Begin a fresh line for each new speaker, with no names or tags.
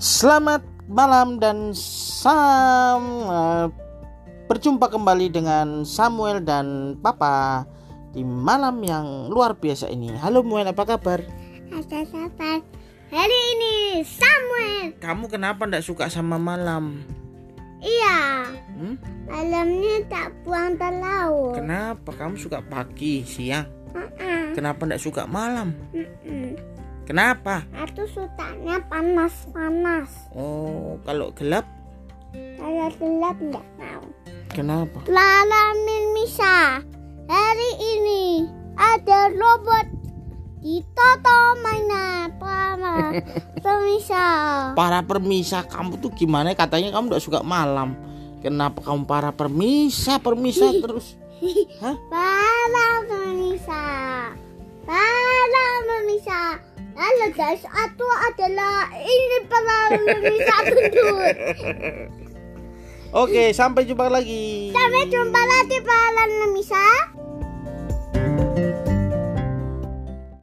Selamat malam dan sam eh, berjumpa kembali dengan Samuel dan Papa di malam yang luar biasa ini. Halo Muel, apa kabar?
Ada sahabat Hari ini Samuel
Kamu kenapa ndak suka sama malam?
Iya
Hmm?
Malamnya tak buang ke laut
Kenapa kamu suka pagi, siang?
Mm-mm,
Kenapa ndak suka malam?
mm-mm.
Kenapa?
Itu sutanya panas-panas
Oh, kalau gelap
Kalau gelap nggak mau
kenapa?
Lala Mirmisa Hari ini ada robot di Toto mainan Para Pemirsa
Para permisa kamu tuh gimana? Katanya kamu ndak suka malam. Kenapa kamu para permisa, permisa terus? Hah?
Para pemirsa, para pemirsa, halo guys, aku adalah ini para pemirsa gendut.
Oke, sampai jumpa lagi.
Sampai jumpa lagi para pemirsa.